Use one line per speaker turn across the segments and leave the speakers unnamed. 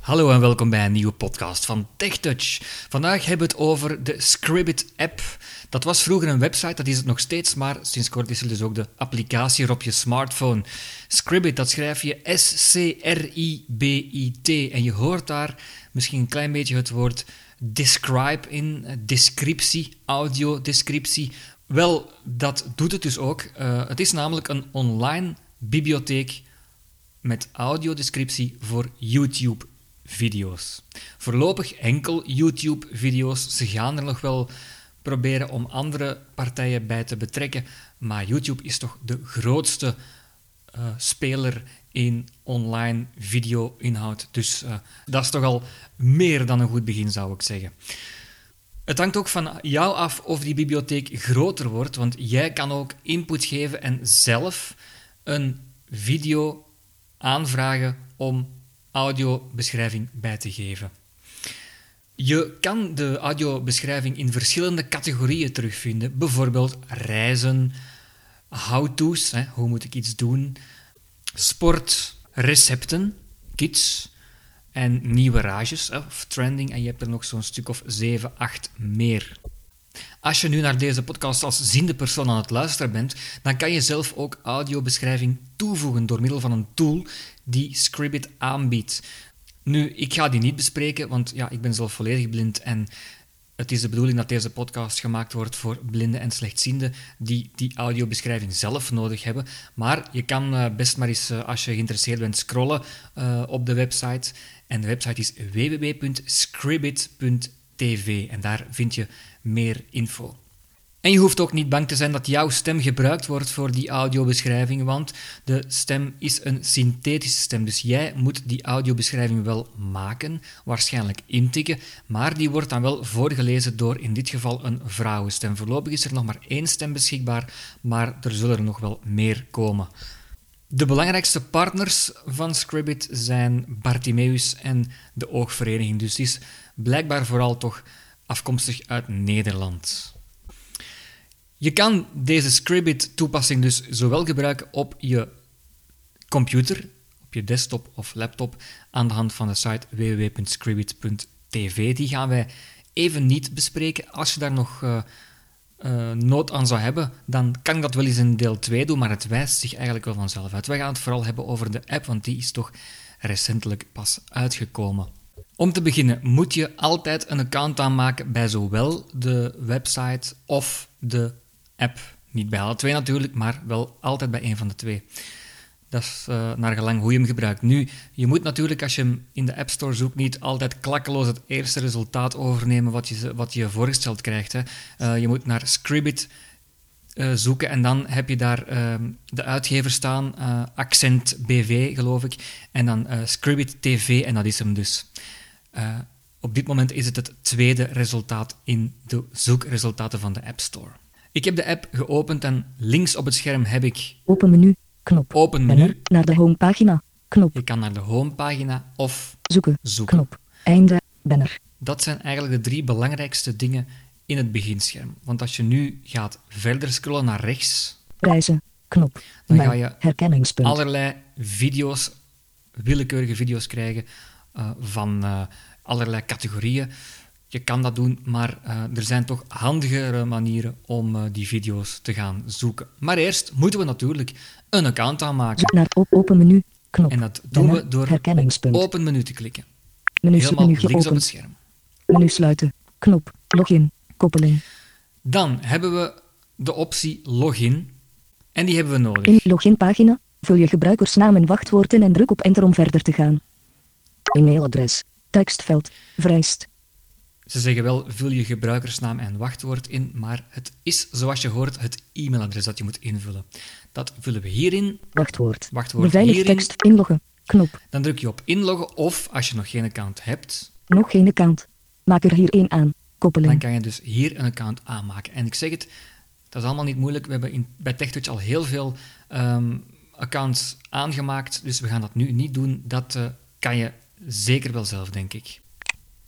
Hallo en welkom bij een nieuwe podcast van TechTouch. Vandaag hebben we het over de Scribbit-app. Dat was vroeger een website, dat is het nog steeds, maar sinds kort is er dus ook de applicatie op je smartphone. Scribbit, dat schrijf je S-C-R-I-B-I-T. En je hoort daar misschien een klein beetje het woord describe in, eh, descriptie, audiodescriptie. Wel, dat doet het dus ook. Eh, het is namelijk een online bibliotheek met audiodescriptie voor YouTube-video's. Voorlopig enkel YouTube-video's. Ze gaan er nog wel proberen om andere partijen bij te betrekken, maar YouTube is toch de grootste eh, speler in online video-inhoud. Dus eh, dat is toch al meer dan een goed begin, zou ik zeggen. Het hangt ook van jou af of die bibliotheek groter wordt, want jij kan ook input geven en zelf een video aanvragen om audiobeschrijving bij te geven. Je kan de audiobeschrijving in verschillende categorieën terugvinden, bijvoorbeeld reizen, how-to's, hè, hoe moet ik iets doen, sport, recepten, kids en nieuwe rages hè, of trending. En je hebt er nog zo'n stuk of 7, 8 meer. Als je nu naar deze podcast als ziende persoon aan het luisteren bent, dan kan je zelf ook audiobeschrijving toevoegen door middel van een tool die Scribbit aanbiedt. Nu, ik ga die niet bespreken, want ja, ik ben zelf volledig blind en het is de bedoeling dat deze podcast gemaakt wordt voor blinden en slechtzienden die die audiobeschrijving zelf nodig hebben. Maar je kan eh, best maar eens, eh, als je geïnteresseerd bent, scrollen eh, op de website. En de website is www.scribit.tv en daar vind je meer info. En je hoeft ook niet bang te zijn dat jouw stem gebruikt wordt voor die audiobeschrijving, want de stem is een synthetische stem. Dus jij moet die audiobeschrijving wel maken, waarschijnlijk intikken, maar die wordt dan wel voorgelezen door in dit geval een vrouwenstem. Voorlopig is er nog maar één stem beschikbaar, maar er zullen er nog wel meer komen. De belangrijkste partners van Scribbit zijn Bartimeus en de Oogvereniging. Dus die is blijkbaar vooral toch afkomstig uit Nederland. Je kan deze Scribit-toepassing dus zowel gebruiken op je computer, op je desktop of laptop, aan de hand van de site www.scribit.tv. Die gaan wij even niet bespreken. Als je daar nog eh, eh, nood aan zou hebben, dan kan ik dat wel eens in deel 2 doen, maar het wijst zich eigenlijk wel vanzelf uit. Wij gaan het vooral hebben over de app, want die is toch recentelijk pas uitgekomen. Om te beginnen moet je altijd een account aanmaken bij zowel de website of de app. Niet bij alle twee natuurlijk, maar wel altijd bij een van de twee. Dat is eh, naar gelang hoe je hem gebruikt. Nu, je moet natuurlijk als je hem in de App Store zoekt niet altijd klakkeloos het eerste resultaat overnemen wat je, wat je voorgesteld krijgt. Hè. Eh, je moet naar Scribit eh, zoeken. En dan heb je daar ehm, de uitgever staan, eh, Accent BV, geloof ik. En dan eh Scribit TV, en dat is hem dus. Eh, op dit moment is het het tweede resultaat in de zoekresultaten van de App Store. Ik heb de app geopend en links op het scherm heb ik
Open menu. Knop.
open menu.
Banner. Naar de homepagina. Knop.
Je kan naar de homepagina of
Zoeken.
zoeken.
Knop. Einde. Banner.
Dat zijn eigenlijk de drie belangrijkste dingen in het beginscherm. Want als je nu gaat verder scrollen naar rechts,
Reizen. Knop.
Dan
Mijn
ga je
herkenningspunt.
allerlei video's, willekeurige video's krijgen eh, van eh, allerlei categorieën. Je kan dat doen, maar eh, er zijn toch handigere manieren om eh, die video's te gaan zoeken. Maar eerst moeten we natuurlijk een account aanmaken.
Zoek naar op open menu. Knop.
En dat doen we
Banner.
door
herkenningspunt.
open menu te klikken.
menu
Helemaal
submenu
links op het
geopend.
scherm.
Menu sluiten. Knop. Login. Koppeling.
Dan hebben we de optie login. En die hebben we nodig.
In loginpagina. Vul je gebruikersnaam en wachtwoord in en druk op enter om verder te gaan. E-mailadres. Tekstveld. Vrijst.
Ze zeggen wel, vul je gebruikersnaam en wachtwoord in, maar het is, zoals je hoort, het e-mailadres dat je moet invullen. Dat vullen we hierin.
Wachtwoord.
Wachtwoord
Beveiligd
hierin.
tekst. Inloggen. Knop.
Dan druk je op inloggen of, als je nog geen account hebt,
Nog geen account. Maak er hier één aan.
dan
Koppeling.
kan je dus hier een account aanmaken. En ik zeg het, dat is allemaal niet moeilijk. We hebben in, bij TechTouch al heel veel ehm, accounts aangemaakt, dus we gaan dat nu niet doen. Dat eh, kan je zeker wel zelf, denk ik.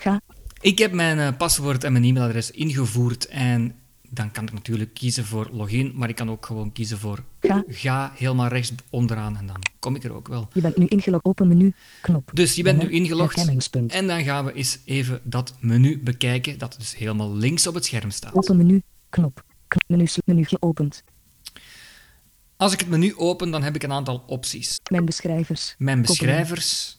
Ga.
Ik heb mijn eh, paswoord en mijn e-mailadres ingevoerd en dan kan ik natuurlijk kiezen voor login, maar ik kan ook gewoon kiezen voor
Ga.
ga helemaal rechts onderaan en dan kom ik er ook wel.
Je bent nu ingelogd. Open menu. Knop.
Dus je bent nu
Menu.
ingelogd
Herkenningspunt.
en dan gaan we eens even dat menu bekijken dat dus helemaal links op het scherm staat.
Open menu. Knop. Knop. Menu, menu geopend.
Als ik het menu open, dan heb ik een aantal opties.
Mijn beschrijvers.
Mijn
Koppeling.
beschrijvers,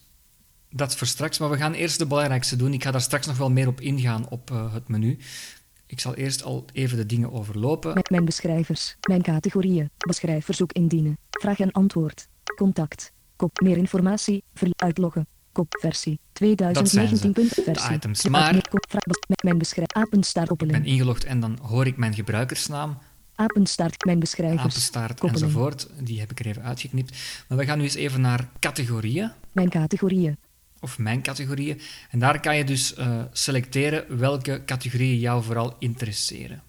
dat voor straks, maar we gaan eerst de belangrijkste doen. Ik ga daar straks nog wel meer op ingaan op eh, het menu. Ik zal eerst al even de dingen overlopen.
Met mijn beschrijvers, mijn categorieën, beschrijfverzoek indienen, vraag en antwoord, contact, kop, meer informatie, ver, uitloggen, kop, versie, 2019. punt, versie,
items.
Uit-
Maar-
kop, vraag, bes- met mijn beschrijf,
Ik ben
apenstaartoppeling,
ingelogd en dan hoor ik mijn gebruikersnaam,
apenstaart, mijn beschrijvers,
apenstaart
koppeling,
enzovoort. Die heb ik er even uitgeknipt. Maar we gaan nu eens even naar categorieën,
mijn categorieën,
of mijn categorieën. En daar kan je dus eh, selecteren welke categorieën jou vooral interesseren.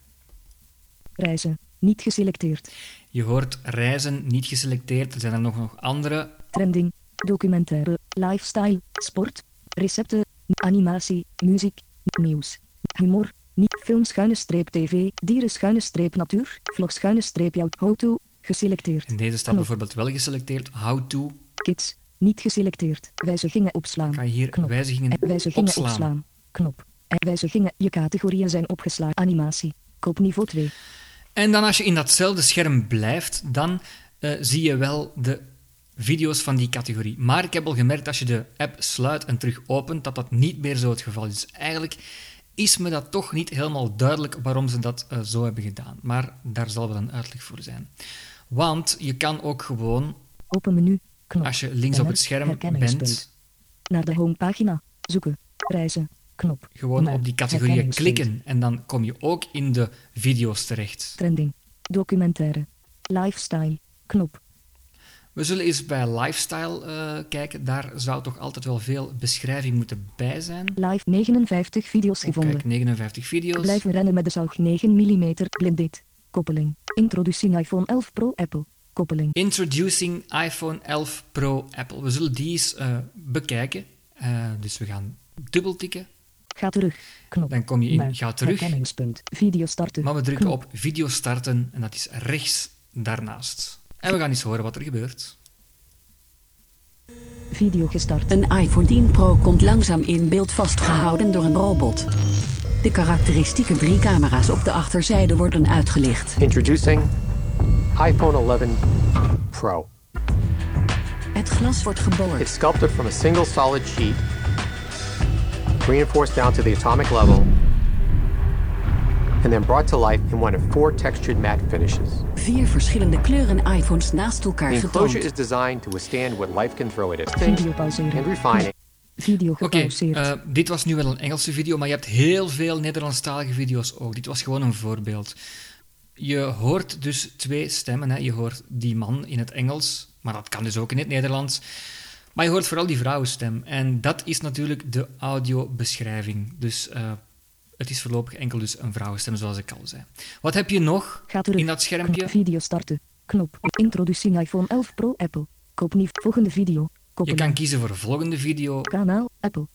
reizen, niet geselecteerd,
Je hoort reizen niet geselecteerd, er zijn er nog, nog andere.
trending, documentaire, lifestyle, sport, recepten, animatie, muziek, nieuws, humor, niet film schuine streep tv, dieren schuine streep natuur, vlog schuine streep jouw auto, geselecteerd.
In deze staat
Knop.
bijvoorbeeld wel geselecteerd. How to
Kids, niet geselecteerd. Wijzigingen opslaan.
kan je hier
Knop.
wijzigingen
En wijzigingen
opslaan.
opslaan. Knop. En wijzigingen. Je categorieën zijn opgeslagen. Animatie. Koop niveau 2.
En dan als je in datzelfde scherm blijft, dan eh, zie je wel de video's van die categorie. Maar ik heb al gemerkt als je de app sluit en terug opent, dat dat niet meer zo het geval is. Eigenlijk is me dat toch niet helemaal duidelijk waarom ze dat eh, zo hebben gedaan. Maar daar zal wel een uitleg voor zijn. Want je kan ook gewoon,
Open menu. Knop.
als je links op het scherm
Herkenningspunt.
bent,
Naar de homepagina. Zoeken. Reizen. Knop.
gewoon
Maar-
op die categorieën
herkenningspunt.
klikken. En dan kom je ook in de video's terecht.
Trending. Documentaire. Lifestyle. Knop.
We zullen eens bij lifestyle eh, kijken. Daar zou toch altijd wel veel beschrijving moeten bij zijn.
Live 59 video's
Oh,
gevonden.
Kijk, 59 video's.
Blijven rennen met de zaag 9 mm. Blind dit. Koppeling. Introducing iPhone 11 Pro Apple. Koppeling.
Introducing iPhone 11 Pro Apple. We zullen die eens eh, bekijken. Eh, dus we gaan dubbeltikken.
Ga terug. Knop.
Dan kom je in
Naar
Ga terug.
Herkenningspunt. Video starten.
Maar we drukken
Knop.
op video starten en dat is rechts daarnaast. En we gaan eens horen wat er gebeurt.
Video gestart.
Een iPhone 10 Pro komt langzaam in beeld vastgehouden door een robot. De karakteristieke drie camera's op de achterzijde worden uitgelicht.
Introducing iPhone 11 Pro.
Het glas wordt
It's
geboord.
sculpted from a single solid sheet, reinforced down to the atomic level, and then brought to life in one of four textured matte finishes.
Vier verschillende kleuren iPhones naast elkaar
The enclosure
getoond.
is designed to withstand what life can throw at it
Video
and
pauzeren.
refine it.
Video
Oké,
gepauzeerd.
eh, dit was nu wel een Engelse video, maar je hebt heel veel Nederlandstalige video's ook. Dit was gewoon een voorbeeld. Je hoort dus twee stemmen. Hè. Je hoort die man in het Engels, maar dat kan dus ook in het Nederlands. Maar je hoort vooral die vrouwenstem. En dat is natuurlijk de audiobeschrijving. Dus eh, het is voorlopig enkel dus een vrouwenstem, zoals ik al zei. Wat heb je nog
Ga terug.
in dat
Knop.
schermpje?
Video starten. Knop. Introducing iPhone 11 Pro Apple. Koop nieuw. Volgende video.
Je
Koppeling.
kan kiezen voor volgende video.
Kanaal Apple.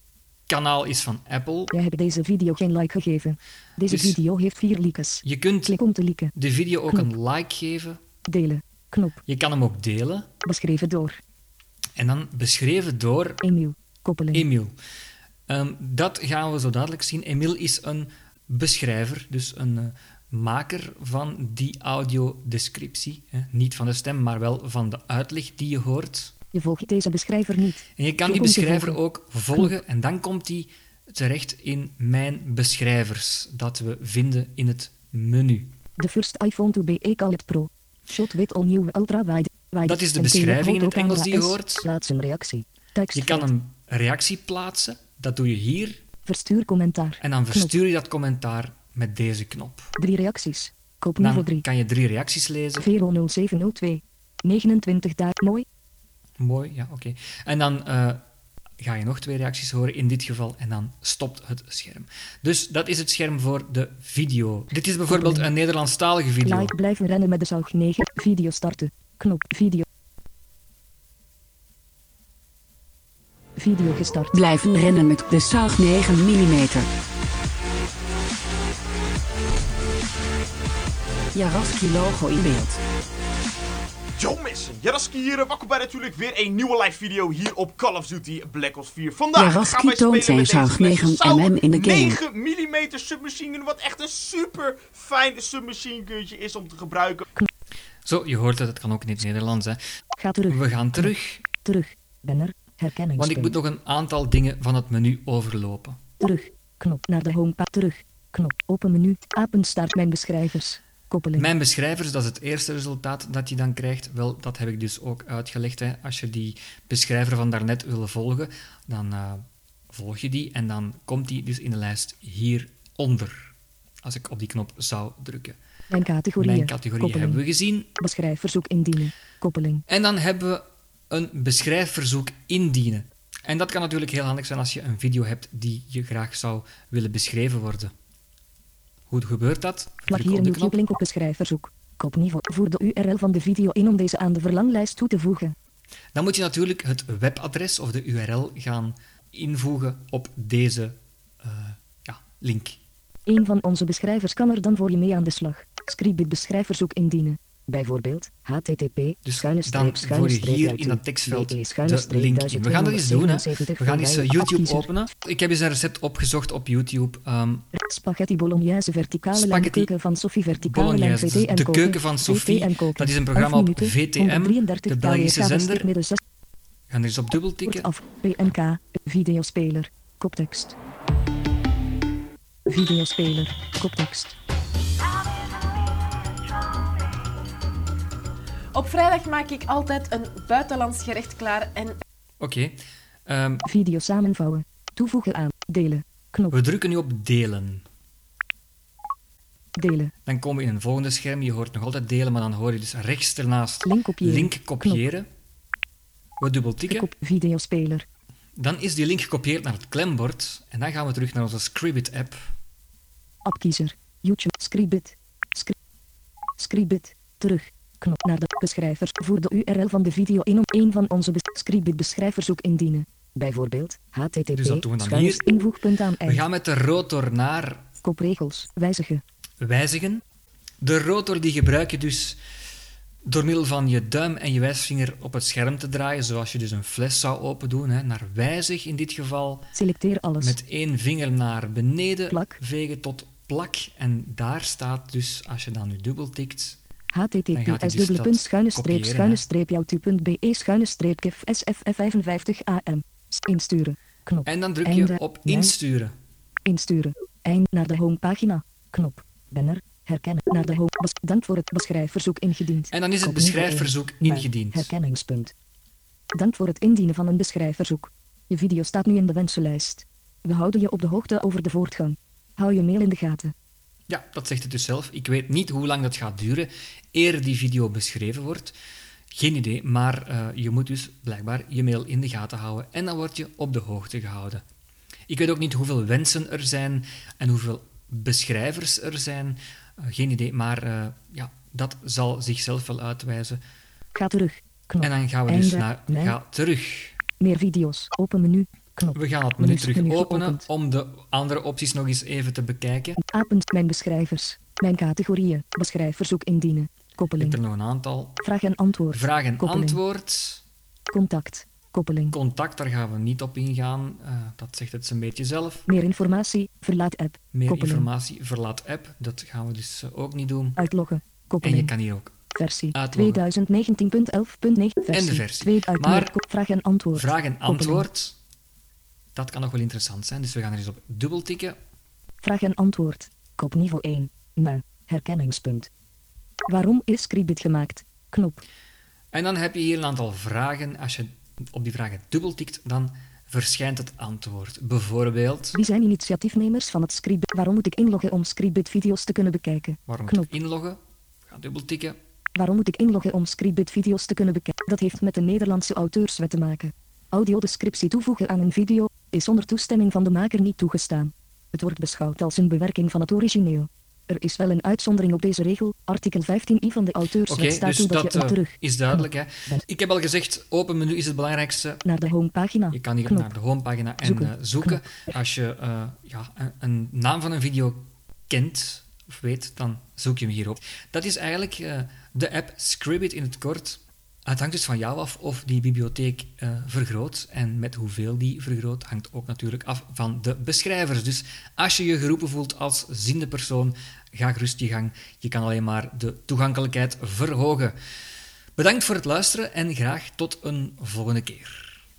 Kanaal is van Apple.
Jij hebt deze video geen like gegeven. Deze
Dus-
video heeft vier likes.
Je kunt
Klik om te liken.
de video ook een like geven.
Delen. Knop.
Je kan hem ook delen.
Beschreven door.
En dan beschreven door
Emiel. Koppeling.
Emiel. Ehm, dat gaan we zo dadelijk zien. Emiel is een beschrijver, dus een eh, maker van die audiodescriptie. Hè. Niet van de stem, maar wel van de uitleg die je hoort.
Je volgt deze beschrijver niet.
En je kan die
Klik om te
beschrijver
volgen.
ook volgen en dan komt die terecht in mijn beschrijvers, dat we vinden in het menu.
De first iPhone to be called Pro. Shot with all new ultra wide. wide.
Dat is de
en tele-
beschrijving in het
fotocamera
Engels die je
S.
hoort.
Plaats een reactie. Tekst.
Je kan een reactie plaatsen, dat doe je hier,
Verstuur commentaar.
en dan
Knop.
verstuur je dat commentaar met deze knop.
Drie reacties. Koop niveau
Dan
3.
kan je drie reacties lezen.
40702. 29 dagen. Mooi.
Mooi, ja, oké. En dan eh, ga je nog twee reacties horen in dit geval en dan stopt het scherm. Dus dat is het scherm voor de video. Dit is bijvoorbeeld een Nederlandstalige video.
Like blijven rennen met de zaag 9. Video starten. Knop. Video. Video gestart.
Blijven rennen met de zaag 9 mm. Jaraski-logo in beeld.
Yo mensen, Jaraski hier. Welkom bij natuurlijk weer een nieuwe live video hier op Call of Duty Black Ops 4. Vandaag
Jaraski
gaan wij
toont
spelen
zijn
met deze
zuignegen
Lesser Sauer
MM in de game.
9 mm submachine gun, wat echt een super fijn submachine guntje is om te gebruiken.
Zo, je hoort dat het kan ook in het Nederlands. Hè.
Ga terug.
We gaan terug,
Terug. Banner. Herkenning.
want ik moet nog een aantal dingen van het menu overlopen.
Terug. Knop naar de homepage. Terug. Knop. Open menu. Apenstaart mijn beschrijvers. Koppeling.
Mijn beschrijvers, dat is het eerste resultaat dat je dan krijgt. Wel, dat heb ik dus ook uitgelegd. Hè. Als je die beschrijver van daarnet wil volgen, dan eh, volg je die en dan komt die dus in de lijst hieronder. Als ik op die knop zou drukken.
Mijn categorieën.
Mijn categorieën
Koppeling.
hebben we gezien.
Beschrijfverzoek indienen. Koppeling.
En dan hebben we een beschrijfverzoek indienen. En dat kan natuurlijk heel handig zijn als je een video hebt die je graag zou willen beschreven worden. Hoe gebeurt dat?
Plak
Druk
hier
op de
een
knop.
YouTube-link op beschrijfverzoek. Kopniveau. Voer de URL van de video in om deze aan de verlanglijst toe te voegen.
Dan moet je natuurlijk het webadres of de URL gaan invoegen op deze eh, ja, link.
Een van onze beschrijvers kan er dan voor je mee aan de slag. Scribit beschrijfverzoek indienen. Bijvoorbeeld http
Dus
schuine
dan
streep
voer
schuine
je
streep
hier
uit
in dat tekstveld
DE
de
streep
link in. We gaan dat eens doen. Hè.
1277
We gaan eens eh,
voorbij
YouTube
adviezer.
openen. Ik heb eens een recept opgezocht op YouTube. ehm,
Spaghetti bolognese verticale lijn
Spaghetti
de keuken van Sophie verticale lijn
Bolognese,
VT
dus
en
de
koken.
keuken van Sophie,
VT en koken.
dat is een programma
Elf
op
minuten,
VTM,
133
de Belgische
KWK,
zender.
midden zes,
we gaan er eens op dubbel
kort
tikken.
af, PNK, videospeler, koptekst. Videospeler, koptekst.
Op vrijdag maak ik altijd een buitenlands gerecht klaar en
Oké. ehm,
Video samenvouwen. Toevoegen aan. Delen. Knop.
we drukken nu op delen.
Delen.
Dan komen we in een volgende scherm. Je hoort nog altijd delen, maar dan hoor je dus rechts ernaast
Link kopiëren.
link kopiëren. We dubbeltikken.
Kop. Videospeler.
Dan is die link gekopieerd naar het klembord. En dan gaan we terug naar onze Scribit-app.
Appkiezer. YouTube. Scribit. Scri- Scribit. Terug. Knop naar de beschrijvers. Voer de URL van de video in om een van onze bes- Scribit beschrijverzoek indienen. Bijvoorbeeld http
Dus dat doen we dan
schuine
hier.
invoegpunt aan
We
eind.
gaan met de rotor naar
Kopregels. Wijzigen.
wijzigen. De rotor die gebruik je dus door middel van je duim en je wijsvinger op het scherm te draaien, zoals je dus een fles zou open doen, hè, naar wijzig in dit geval.
Selecteer alles.
Met één vinger naar beneden
Plak.
vegen tot plak. En daar staat dus, als je dan nu dubbel tikt, Dan gaat hij
https
dus
dubbele
dat
punt schuine streep
kopiëren,
schuine
hè?
streep jouwtu.be E schuine streep kef sff55 am. S- Insturen. Knop.
En dan druk
Einde.
je op
Lijn.
insturen.
Insturen. Eind naar de homepagina. Knop. Banner. Herkennen. Naar de home. Bes- Dank voor het beschrijfverzoek ingediend.
En dan is het
Kopnieuw één.
beschrijfverzoek
Mijn
ingediend.
Herkenningspunt. Dank voor het indienen van een beschrijfverzoek. Je video staat nu in de wensenlijst. We houden je op de hoogte over de voortgang. Hou je mail in de gaten.
Ja, dat zegt het dus zelf. Ik weet niet hoe lang dat gaat duren eer die video beschreven wordt. Geen idee, maar eh, je moet dus blijkbaar je mail in de gaten houden en dan word je op de hoogte gehouden. Ik weet ook niet hoeveel wensen er zijn en hoeveel beschrijvers er zijn. Eh, geen idee, maar eh, ja, dat zal zichzelf wel uitwijzen.
Ga terug. Knop.
En dan gaan we dus
Einde.
naar
Mijn-
ga terug.
Meer video's. Open menu. Knop.
We gaan het menu
is
terug
menu
openen
geopend.
om de andere opties nog eens even te bekijken.
Apen. Mijn beschrijvers. Mijn categorieën. Beschrijfverzoek indienen.
Ik heb er
Koppeling.
nog een aantal.
Vraag en antwoord.
Vraag en
Koppeling.
antwoord.
Contact. Koppeling.
Contact, daar gaan we niet op ingaan. Eh, dat zegt het zo'n beetje zelf.
Meer informatie, verlaat app.
Meer
koppeling.
informatie, verlaat app. Dat gaan we dus eh, ook niet doen.
Uitloggen.
En je
Koppeling.
kan hier ook
Versie
uitloggen.
2019.11.9. Versie.
En de versie.
Twee uit
Maar-
meer- ko- vraag en antwoord.
vraag en
Koppeling.
antwoord. Dat kan nog wel interessant zijn, dus we gaan er eens op dubbel tikken.
Vraag en antwoord. Kopniveau 1. Maar. Herkenningspunt. Waarom is Scribit gemaakt? Knop.
En dan heb je hier een aantal vragen. Als je op die vragen dubbel tikt, dan verschijnt het antwoord. Bijvoorbeeld,
Wie zijn initiatiefnemers van het Scribit? Waarom moet ik inloggen om Scribit video's te kunnen bekijken?
waarom moet
Knop. Dus
ik inloggen? Ga dubbel tikken.
Waarom moet ik inloggen om Scribit video's te kunnen bekijken? Dat heeft met de Nederlandse auteurswet te maken. Audiodescriptie toevoegen aan een video is zonder toestemming van de maker niet toegestaan. Het wordt beschouwd als een bewerking van het origineel. Er is wel een uitzondering op deze regel. Artikel 15i van de auteurswet
Oké,
staat
dus
toe dat,
dat
je
eh,
een terug
is duidelijk. Hè?
Ben-
Ik heb al gezegd, open menu is het belangrijkste.
naar de homepagina.
Je kan hier
knop.
naar de homepagina en eh,
Zoeken.
zoeken. Als je eh, ja, een, een naam van een video kent weet, dan zoek je hem hierop. Dat is eigenlijk eh, de app Scribit in het kort. Het hangt dus van jou af of die bibliotheek eh, vergroot. En met hoeveel die vergroot hangt ook natuurlijk af van de beschrijvers. Dus als je je geroepen voelt als ziende persoon, ga gerust je gang. Je kan alleen maar de toegankelijkheid verhogen. Bedankt voor het luisteren en graag tot een volgende keer.